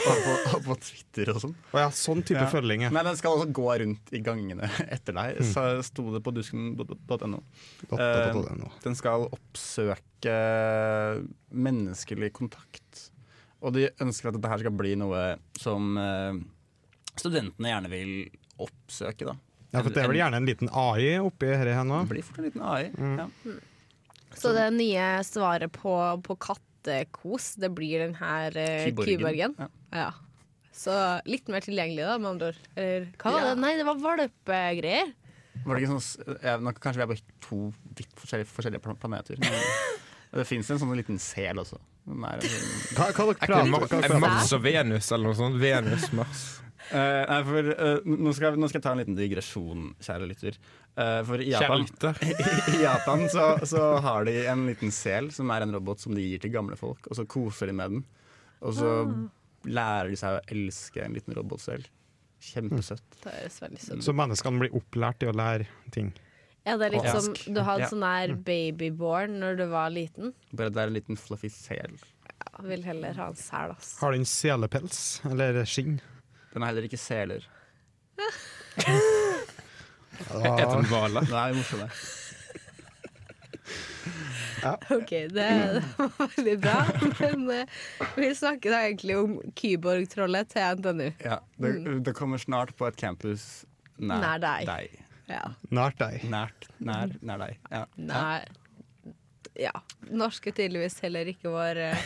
Speaker 3: og på, og på Twitter og sånn.
Speaker 4: Å ja, sånn type
Speaker 3: Ja.
Speaker 4: følging, ja.
Speaker 3: Nei, den skal også gå rundt i gangene etter deg, så sto det på dusken.no.
Speaker 4: Da- da- da- da- nå.
Speaker 3: Den skal oppsøke menneskelig kontakt. Og de ønsker at dette her skal bli noe som eh, studentene gjerne vil oppsøke, da.
Speaker 4: Ja, for det er vel gjerne en liten AI oppi dette her nå.
Speaker 3: Det blir fort en liten AI. Ja.
Speaker 2: Så det nye svaret på, på kattekos, det blir den her eh, kyborgen.
Speaker 3: Ja.
Speaker 2: Ja. Så litt mer tilgjengelig, da, med andre ord. Eller hva var
Speaker 3: Ja.
Speaker 2: det? Nei, det var valpegreier.
Speaker 3: Var det ikke sånn, s- jeg, nå, kanskje vi er på to vidt forskjellige, forskjellige plan- planeter. Men det fins en sånn liten sel også. Den er,
Speaker 4: Hva, hva
Speaker 5: Er
Speaker 4: dere prater om? Hva
Speaker 5: det
Speaker 4: dere prater om?
Speaker 5: Mars og Venus eller noe sånt? Venus, Mars.
Speaker 3: Eh, nei, for eh, nå, skal, jeg- nå skal jeg ta en liten digresjon, kjære lytter. Eh, for i Japan,
Speaker 5: Kjærligheter.
Speaker 3: *laughs* i Japan så, så har de en liten sel som er en robot som de gir til gamle folk, og så koser de med den. Og så
Speaker 2: Ah.
Speaker 3: lærer de seg å elske en liten robotsel. Kjempesøtt.
Speaker 2: Det høres veldig sunt ut.
Speaker 4: Så menneskene blir opplært i å lære ting.
Speaker 2: Ja, det er litt som
Speaker 3: Faktisk.
Speaker 2: du hadde
Speaker 3: Ja.
Speaker 2: sånn her babyborn når du var liten.
Speaker 3: Bare det er en liten fluffy sel.
Speaker 2: Jeg vil heller ha en sel, ass.
Speaker 4: Har den selepels eller skinn?
Speaker 3: Den har heller ikke seler.
Speaker 5: Er det en hvale?
Speaker 3: Den er morsom, det.
Speaker 2: *laughs* OK, det, det var veldig bra, *laughs* men eh, vi snakker da egentlig om Kyborg-trollet til NTNU.
Speaker 3: Ja, det, det kommer snart på et campus
Speaker 2: Mm.
Speaker 3: nær,
Speaker 2: Nær deg.
Speaker 3: deg.
Speaker 2: Ja.
Speaker 4: Nært deg.
Speaker 3: Nært, nær, nær deg. Ja.
Speaker 2: Nei Ja. Norsk er tydeligvis heller ikke vår eh,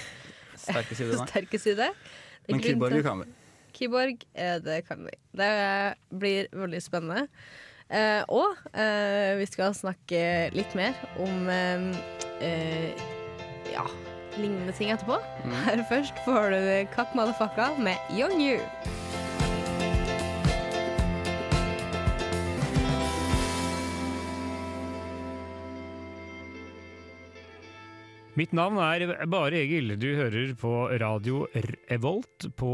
Speaker 3: Sterke sider, nei.
Speaker 2: sterke side. Det er
Speaker 3: Men
Speaker 2: grunn til-
Speaker 3: Kyborg kan vi.
Speaker 2: Kyborg, eh, det kan vi. Det eh, blir veldig spennende. Eh, og eh, vi skal snakke litt mer om eh, eh, ja, lignende ting etterpå.
Speaker 3: Mm.
Speaker 2: Her først får du Kakk Madafakka med Young You.
Speaker 6: Mitt navn er Bare Egil. Du hører på radio Revolt på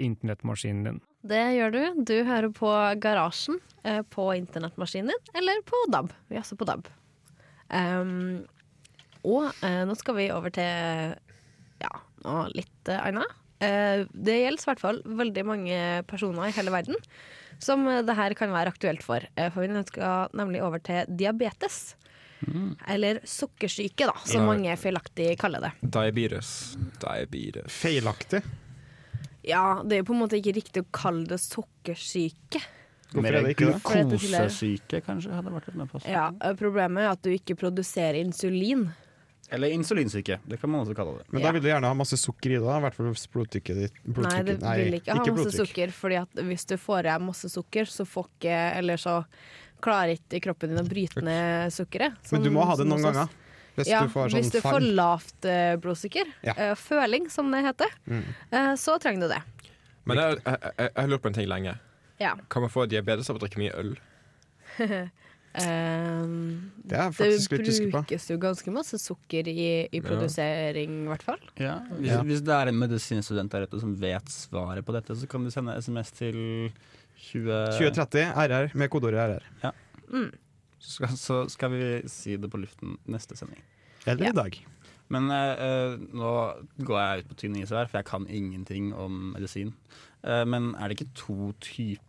Speaker 6: internettmaskinen din.
Speaker 2: Det gjør du. Du hører på Garasjen eh, på internettmaskinen din, eller på DAB. Vi er også på DAB. Ehm, og eh, nå skal vi over til ja, noe litt eh, annet. Eh, det gjelder i hvert fall veldig mange personer i hele verden som eh, det her kan være aktuelt for. Eh, for vi skal nemlig over til diabetes. Eller sukkersyke, da, som
Speaker 5: Ja.
Speaker 2: mange feilaktig kaller det.
Speaker 5: Diabetes. Diabetes.
Speaker 4: Feilaktig.
Speaker 2: Ja, det er jo på en måte ikke riktig å kalle det sukkersyke.
Speaker 4: Hvorfor er det ikke det?
Speaker 2: For dette tilhører-
Speaker 3: Kosesyke, kanskje, hadde vært litt mer på.
Speaker 2: Ja, ø, Problemet er at du ikke produserer insulin.
Speaker 3: Eller insulinsyke, det kan man også kalle det.
Speaker 4: Men da vil du gjerne ha masse sukker i det, da, i hvert fall hvis blodtrykket ditt
Speaker 2: Nei, du
Speaker 4: blodtrykket-
Speaker 2: vil ikke, ha masse
Speaker 4: blodtrykk.
Speaker 2: sukker, Fordi at hvis du får i deg masse sukker, så får ikke Eller så klarer ikke kroppen din å bryte ned sukkeret.
Speaker 4: Men du må
Speaker 2: Som-
Speaker 4: ha det
Speaker 2: sånn som
Speaker 4: noen
Speaker 2: hos oss.
Speaker 4: ganger. Hvis
Speaker 2: ja,
Speaker 4: du får sånn
Speaker 2: hvis du får
Speaker 4: fall.
Speaker 2: lavt ø, blodsukker,
Speaker 4: Ja. Mm.
Speaker 2: ø, føling som det heter, ø, så trenger du det.
Speaker 5: Men jeg, jeg, jeg, jeg har lurt på en ting lenge.
Speaker 2: Ja.
Speaker 5: Kan man få diabetes av å drikke mye øl?
Speaker 2: Ehm,
Speaker 4: Det er jeg
Speaker 2: Eh, det
Speaker 4: faktisk litt usikker på.
Speaker 2: brukes jo ganske masse sukker i, i produsering, i hvert fall.
Speaker 3: Ja, hvis,
Speaker 4: Ja.
Speaker 3: hvis det er en medisinstudent der ute som vet svaret på dette, så kan du sende SMS til 20...
Speaker 4: 2030 RR med kodeordet RR.
Speaker 3: Så skal, så skal vi si det på luften neste sending.
Speaker 4: Eller
Speaker 2: Ja.
Speaker 4: i dag.
Speaker 3: Men eh, eh, nå går jeg ut på tynn is her, for jeg kan ingenting om medisin. Eh, men er det ikke to typer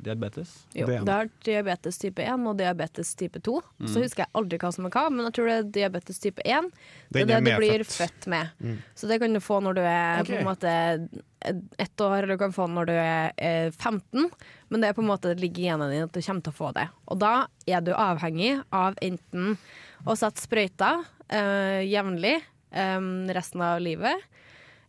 Speaker 3: diabetes?
Speaker 2: Jo,
Speaker 4: Det er
Speaker 2: det er diabetes type 1 og diabetes type 2. Så husker jeg aldri hva som er hva, men jeg tror det er diabetes type 1. Det
Speaker 4: Den
Speaker 2: er det
Speaker 4: er
Speaker 2: du blir
Speaker 4: medfødt.
Speaker 2: født med. Så det kan du få når du er på
Speaker 3: Ok.
Speaker 2: en måte ett år, eller du kan få den når du er eh, 15. Men det er på en måte det ligger i genene dine at du kommer til å få det. Og da er du avhengig av enten å sette sprøyter eh, jevnlig eh, resten av livet.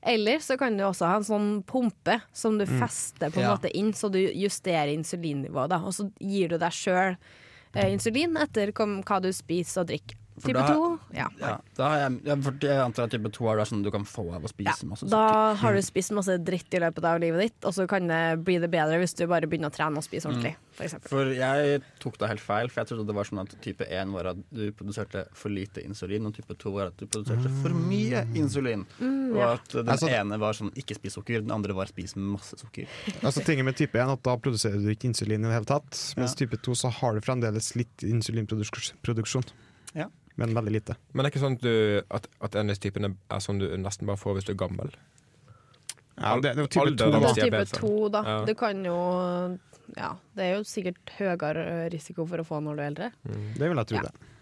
Speaker 2: Eller så kan du også ha en sånn pumpe som du fester på en
Speaker 3: Mm. Ja.
Speaker 2: måte inn, så du justerer insulinnivået. Da. Og så gir du deg sjøl eh, insulin etter kom, hva du spiser og drikker.
Speaker 3: For
Speaker 2: Type
Speaker 3: da-
Speaker 2: 2? Ja.
Speaker 3: Ja, da har jeg, ja, for jeg antar at type 2 er det sånn du kan få av å
Speaker 2: ja.
Speaker 3: spise masse
Speaker 2: Da
Speaker 3: sukker. Mm.
Speaker 2: har du spist masse dritt i løpet av livet ditt, og så kan det bli det bedre hvis du bare begynner å trene og spise
Speaker 3: Mm.
Speaker 2: ordentlig, f.eks.
Speaker 3: For jeg tok det helt feil, for jeg trodde det var sånn at type 1 var at du produserte for lite insulin, og type 2 var at du produserte for mye insulin. Og
Speaker 2: Mm, ja.
Speaker 3: at den
Speaker 4: Altså-
Speaker 3: ene var sånn ikke spis sukker, den andre var spis masse sukker.
Speaker 4: Altså tinget med type 1 at Da produserer du ikke insulin i det hele tatt. Mens
Speaker 3: Ja.
Speaker 4: type 2 så har du fremdeles litt insulinproduksjon,
Speaker 3: Ja.
Speaker 4: men veldig lite.
Speaker 5: Men det er ikke sånn at, du, at, at en av typene er sånn du nesten bare får hvis du er gammel.
Speaker 4: Ja, det, det er jo type
Speaker 5: Alder er
Speaker 4: 2, da.
Speaker 2: Det
Speaker 5: vanskelig.
Speaker 2: er type
Speaker 5: diabetes, da.
Speaker 2: 2, da.
Speaker 5: Ja.
Speaker 2: Du kan jo Ja, det er jo sikkert høyere risiko for å få når du er eldre.
Speaker 4: Det vil jeg tro
Speaker 2: Ja.
Speaker 4: det.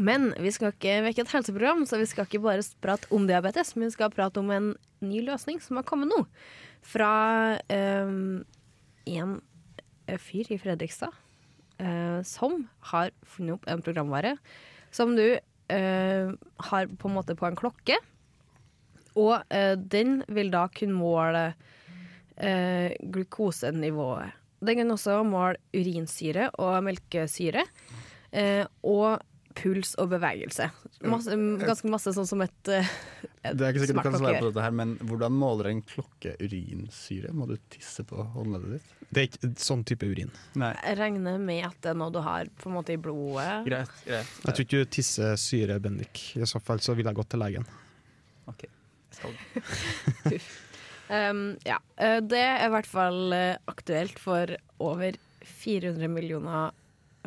Speaker 2: Men vi skal ikke vekke et helseprogram, så vi skal ikke bare prate om diabetes, men vi skal prate om en ny løsning som har kommet nå. Fra ehm, en eh, fyr i Fredrikstad eh, som har funnet opp en programvare som du eh, har på en måte på en klokke. Og eh, den vil da kunne måle eh, glukosenivået. Den kan også måle urinsyre og melkesyre. Eh, og puls og bevegelse. Masse, ganske masse sånn som et, eh, et
Speaker 3: Det er ikke sikkert du kan
Speaker 2: smartklokke
Speaker 3: svare
Speaker 2: gjør.
Speaker 3: på dette her, men hvordan måler en klokke urinsyre? Må du tisse på håndleddet ditt?
Speaker 4: Det er ikke sånn type urin.
Speaker 3: Nei.
Speaker 2: Jeg regner med at det er noe du har på en måte i blodet.
Speaker 3: Greit, greit.
Speaker 4: Jeg tror ikke du tisser syre, Bendik. I så fall så ville jeg gått til legen.
Speaker 3: Ok. Jeg skal-
Speaker 2: Um, ja. Eh, Det er i hvert fall eh, aktuelt for over 400 millioner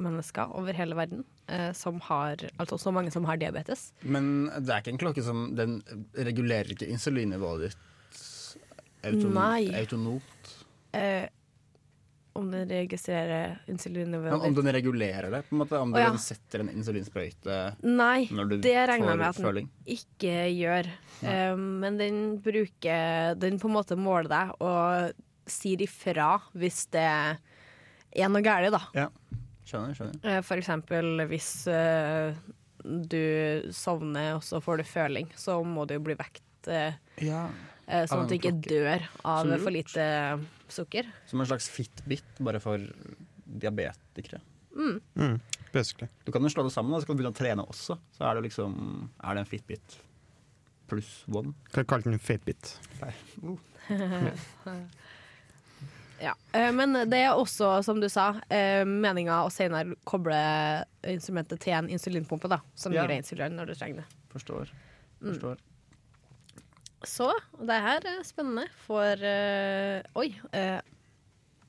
Speaker 2: mennesker over hele verden. eh, Som har, altså så mange som har diabetes.
Speaker 3: Men det er ikke en klokke som Den regulerer ikke insulinnivået ditt auton-
Speaker 2: Nei.
Speaker 3: autonomt?
Speaker 2: Eh, om den registrerer
Speaker 3: Ja,
Speaker 2: insulinnivået
Speaker 3: om
Speaker 2: ditt?
Speaker 3: den regulerer det? på en måte Om
Speaker 2: Å, ja.
Speaker 3: den setter en insulinsprøyte
Speaker 2: Nei,
Speaker 3: når du
Speaker 2: det regner jeg
Speaker 3: får
Speaker 2: med at den
Speaker 3: føling?
Speaker 2: ikke gjør. Eh, men den bruker Den på en måte måler deg og sier ifra hvis det er noe galt, da.
Speaker 3: Ja. Skjønner. skjønner
Speaker 2: Eh, For eksempel hvis eh, du sovner og så får du føling, så må du jo bli vekt eh,
Speaker 3: ja.
Speaker 2: eh,
Speaker 3: Av
Speaker 2: sånn at du
Speaker 3: en
Speaker 2: ikke
Speaker 3: klokke.
Speaker 2: dør av
Speaker 3: Så lurt.
Speaker 2: for lite sukker.
Speaker 3: Som en slags fitbit, bare for diabetikere.
Speaker 4: Mm, basically.
Speaker 3: Du kan jo slå det sammen, da, så kan du begynne å trene også. Så er det liksom Er det en fitbit pluss one? uh,
Speaker 4: Kan kalle den fatbit.
Speaker 2: Ja. Eh, Men det er også, som du sa, eh, meninga å senere koble instrumentet til en insulinpumpe, da, som
Speaker 3: Ja.
Speaker 2: gir deg insulin når du trenger det.
Speaker 3: Forstår. Forstår.
Speaker 2: Så det her er spennende for eh, Oi. eh,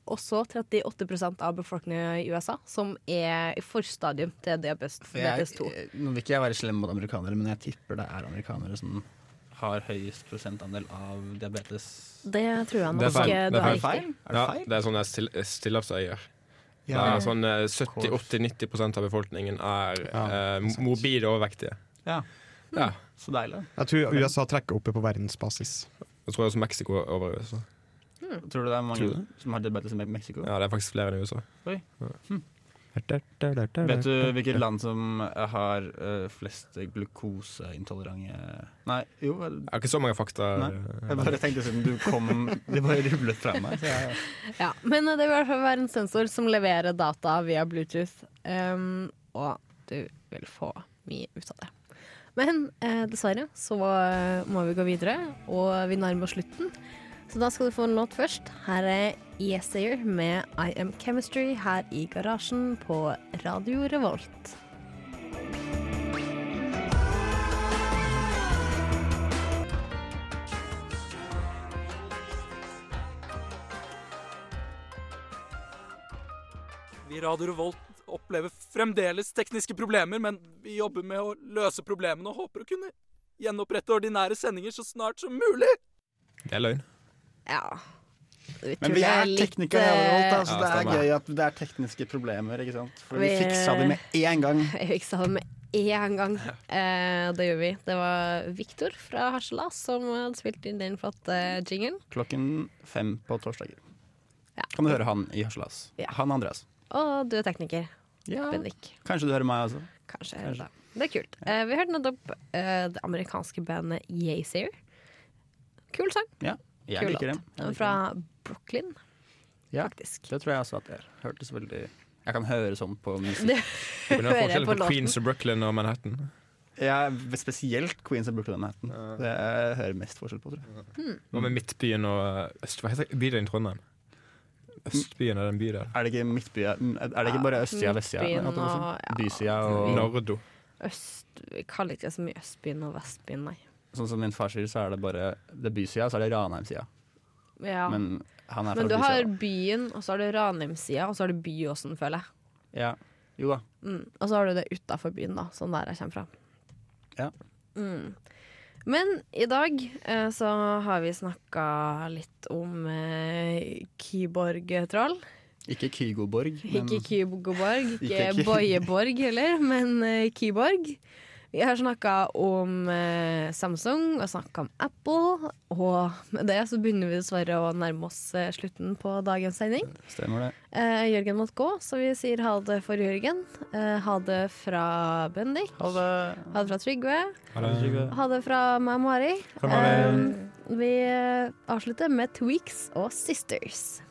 Speaker 2: også 38 av befolkninga i USA som er i forstadium til diabetes, diabetes 2.
Speaker 3: Jeg, nå vil ikke jeg være slem mot amerikanere, men jeg tipper det er amerikanere som har høyest prosentandel av diabetes.
Speaker 2: Det tror jeg
Speaker 5: Det er
Speaker 2: nok
Speaker 5: feil.
Speaker 2: eh,
Speaker 5: Det
Speaker 2: du
Speaker 5: er
Speaker 2: har
Speaker 5: feil.
Speaker 2: riktig.
Speaker 3: Er det
Speaker 5: Ja,
Speaker 3: feil?
Speaker 5: det er sånn jeg still- stillapsøyer. Det er sånn eh, 70-80-90 av befolkningen er
Speaker 4: Ja,
Speaker 5: eh, mobile overvektige.
Speaker 3: Ja.
Speaker 5: Ja.
Speaker 3: Så deilig.
Speaker 4: Jeg tror USA trekker opp på verdensbasis.
Speaker 5: Jeg tror også Mexico er over USA.
Speaker 3: Tror du det er mange
Speaker 4: Tror du
Speaker 3: som har diabetes i Mexico?
Speaker 5: Ja, det er faktisk flere enn i USA.
Speaker 3: Vet du hvilket land som har eh, flest glukoseintolerante Nei, jo
Speaker 5: Jeg har ikke så mange fakta.
Speaker 3: Nei. Jeg bare tenkte siden du kom Det bare rullet fra meg. Så jeg,
Speaker 2: Ja, men eh, det vil i hvert fall være en sensor som leverer data via Bluetooth. ehm, og du vil få mye ut av det. Men eh, dessverre så eh, må vi gå videre, og vi nærmer oss slutten. Så da skal du få en låt først. Her er Yesayer med I Am Chemistry her i garasjen på Radio Revolt.
Speaker 8: Vi i Radio Revolt opplever fremdeles tekniske problemer, men vi jobber med å løse problemene og håper å kunne gjenopprette ordinære sendinger så snart som mulig.
Speaker 5: Det er løgn.
Speaker 2: Ja.
Speaker 3: men vi er teknikere i Revolt, da, så
Speaker 5: Ja,
Speaker 3: det er
Speaker 5: stemmer.
Speaker 3: gøy at det er tekniske problemer. ikke sant? For vi
Speaker 2: Vi-
Speaker 3: fiksa det med
Speaker 2: *laughs*
Speaker 3: én gang.
Speaker 2: Jeg fiksa det med én
Speaker 5: *laughs*
Speaker 2: gang. Eh, det gjør vi. Det var Viktor fra Harselas som hadde spilt inn den flotte jingelen.
Speaker 3: Klokken fem på torsdager.
Speaker 2: Ja.
Speaker 3: Kan du høre han i Harselas?
Speaker 2: Ja.
Speaker 3: Han Andreas.
Speaker 2: Og du er tekniker, Bendik.
Speaker 3: Kanskje du hører meg også?
Speaker 2: Kanskje. Da. Det er kult. Eh, vi hørte nettopp eh, det amerikanske bandet Yasayer. Kul sang.
Speaker 3: Ja. Jeg
Speaker 2: Kul
Speaker 3: liker dem.
Speaker 2: låt.
Speaker 3: Jeg liker
Speaker 2: Fra Brooklyn,
Speaker 3: dem. Ja,
Speaker 2: faktisk.
Speaker 3: det tror jeg også at jeg hørtes veldig Jeg kan høre sånn på musikk.
Speaker 9: Det
Speaker 5: Men det er
Speaker 9: *laughs* hører jeg
Speaker 5: forskjell
Speaker 9: på
Speaker 5: på
Speaker 9: låten.
Speaker 5: Queens of Brooklyn og Manhattan.
Speaker 3: Jeg, spesielt Queens of Brooklyn Manhattan. Det jeg hører mest forskjell på, tror jeg.
Speaker 5: Hva med Midtbyen og eh, Øst... Hva heter bydelen i Trondheim? Østbyen er den bydelen.
Speaker 3: Er det ikke midtby Er det ikke bare østsida og vestsida?
Speaker 9: Midtbyen
Speaker 3: At det også-
Speaker 9: og- ja. Mm.
Speaker 3: Bysida og
Speaker 5: Nardo.
Speaker 9: Øst Vi kaller ikke det så mye Østbyen og Vestbyen, nei.
Speaker 3: Sånn som min far sier, så er det bare det er bysida, så er det Ranheim-sida.
Speaker 9: Ja. Men,
Speaker 3: Men han er fra
Speaker 9: du har
Speaker 3: bysida.
Speaker 9: byen, og så har du Ranheim-sida, og så har du Byåsen, føler jeg.
Speaker 3: Ja. Jo da.
Speaker 9: Mm. Og så har du det utafor byen, da, sånn der jeg kommer fra.
Speaker 3: Ja.
Speaker 9: Mm. Men i dag eh, så har vi snakka litt om eh, Kyborg-troll.
Speaker 3: Ikke Kygoborg, men
Speaker 9: Ikke Kyborg,
Speaker 3: Mm. Ikke
Speaker 9: ikke
Speaker 3: Ky-
Speaker 9: Bojeborg heller, men eh, Kyborg. Vi har snakka om eh, Samsung og snakka om Apple, og med det så begynner vi dessverre å nærme oss eh, slutten på dagens sending.
Speaker 3: stemmer det.
Speaker 9: Eh, Jørgen måtte gå, så vi sier ha det for Jørgen. Eh, ha det fra Bendik.
Speaker 3: Ha det.
Speaker 9: Ha det fra Trygve.
Speaker 5: Ha det.
Speaker 9: Ha det fra meg, Mari.
Speaker 5: Fra meg.
Speaker 9: Eh, vi eh, avslutter med Tweaks og Sisters.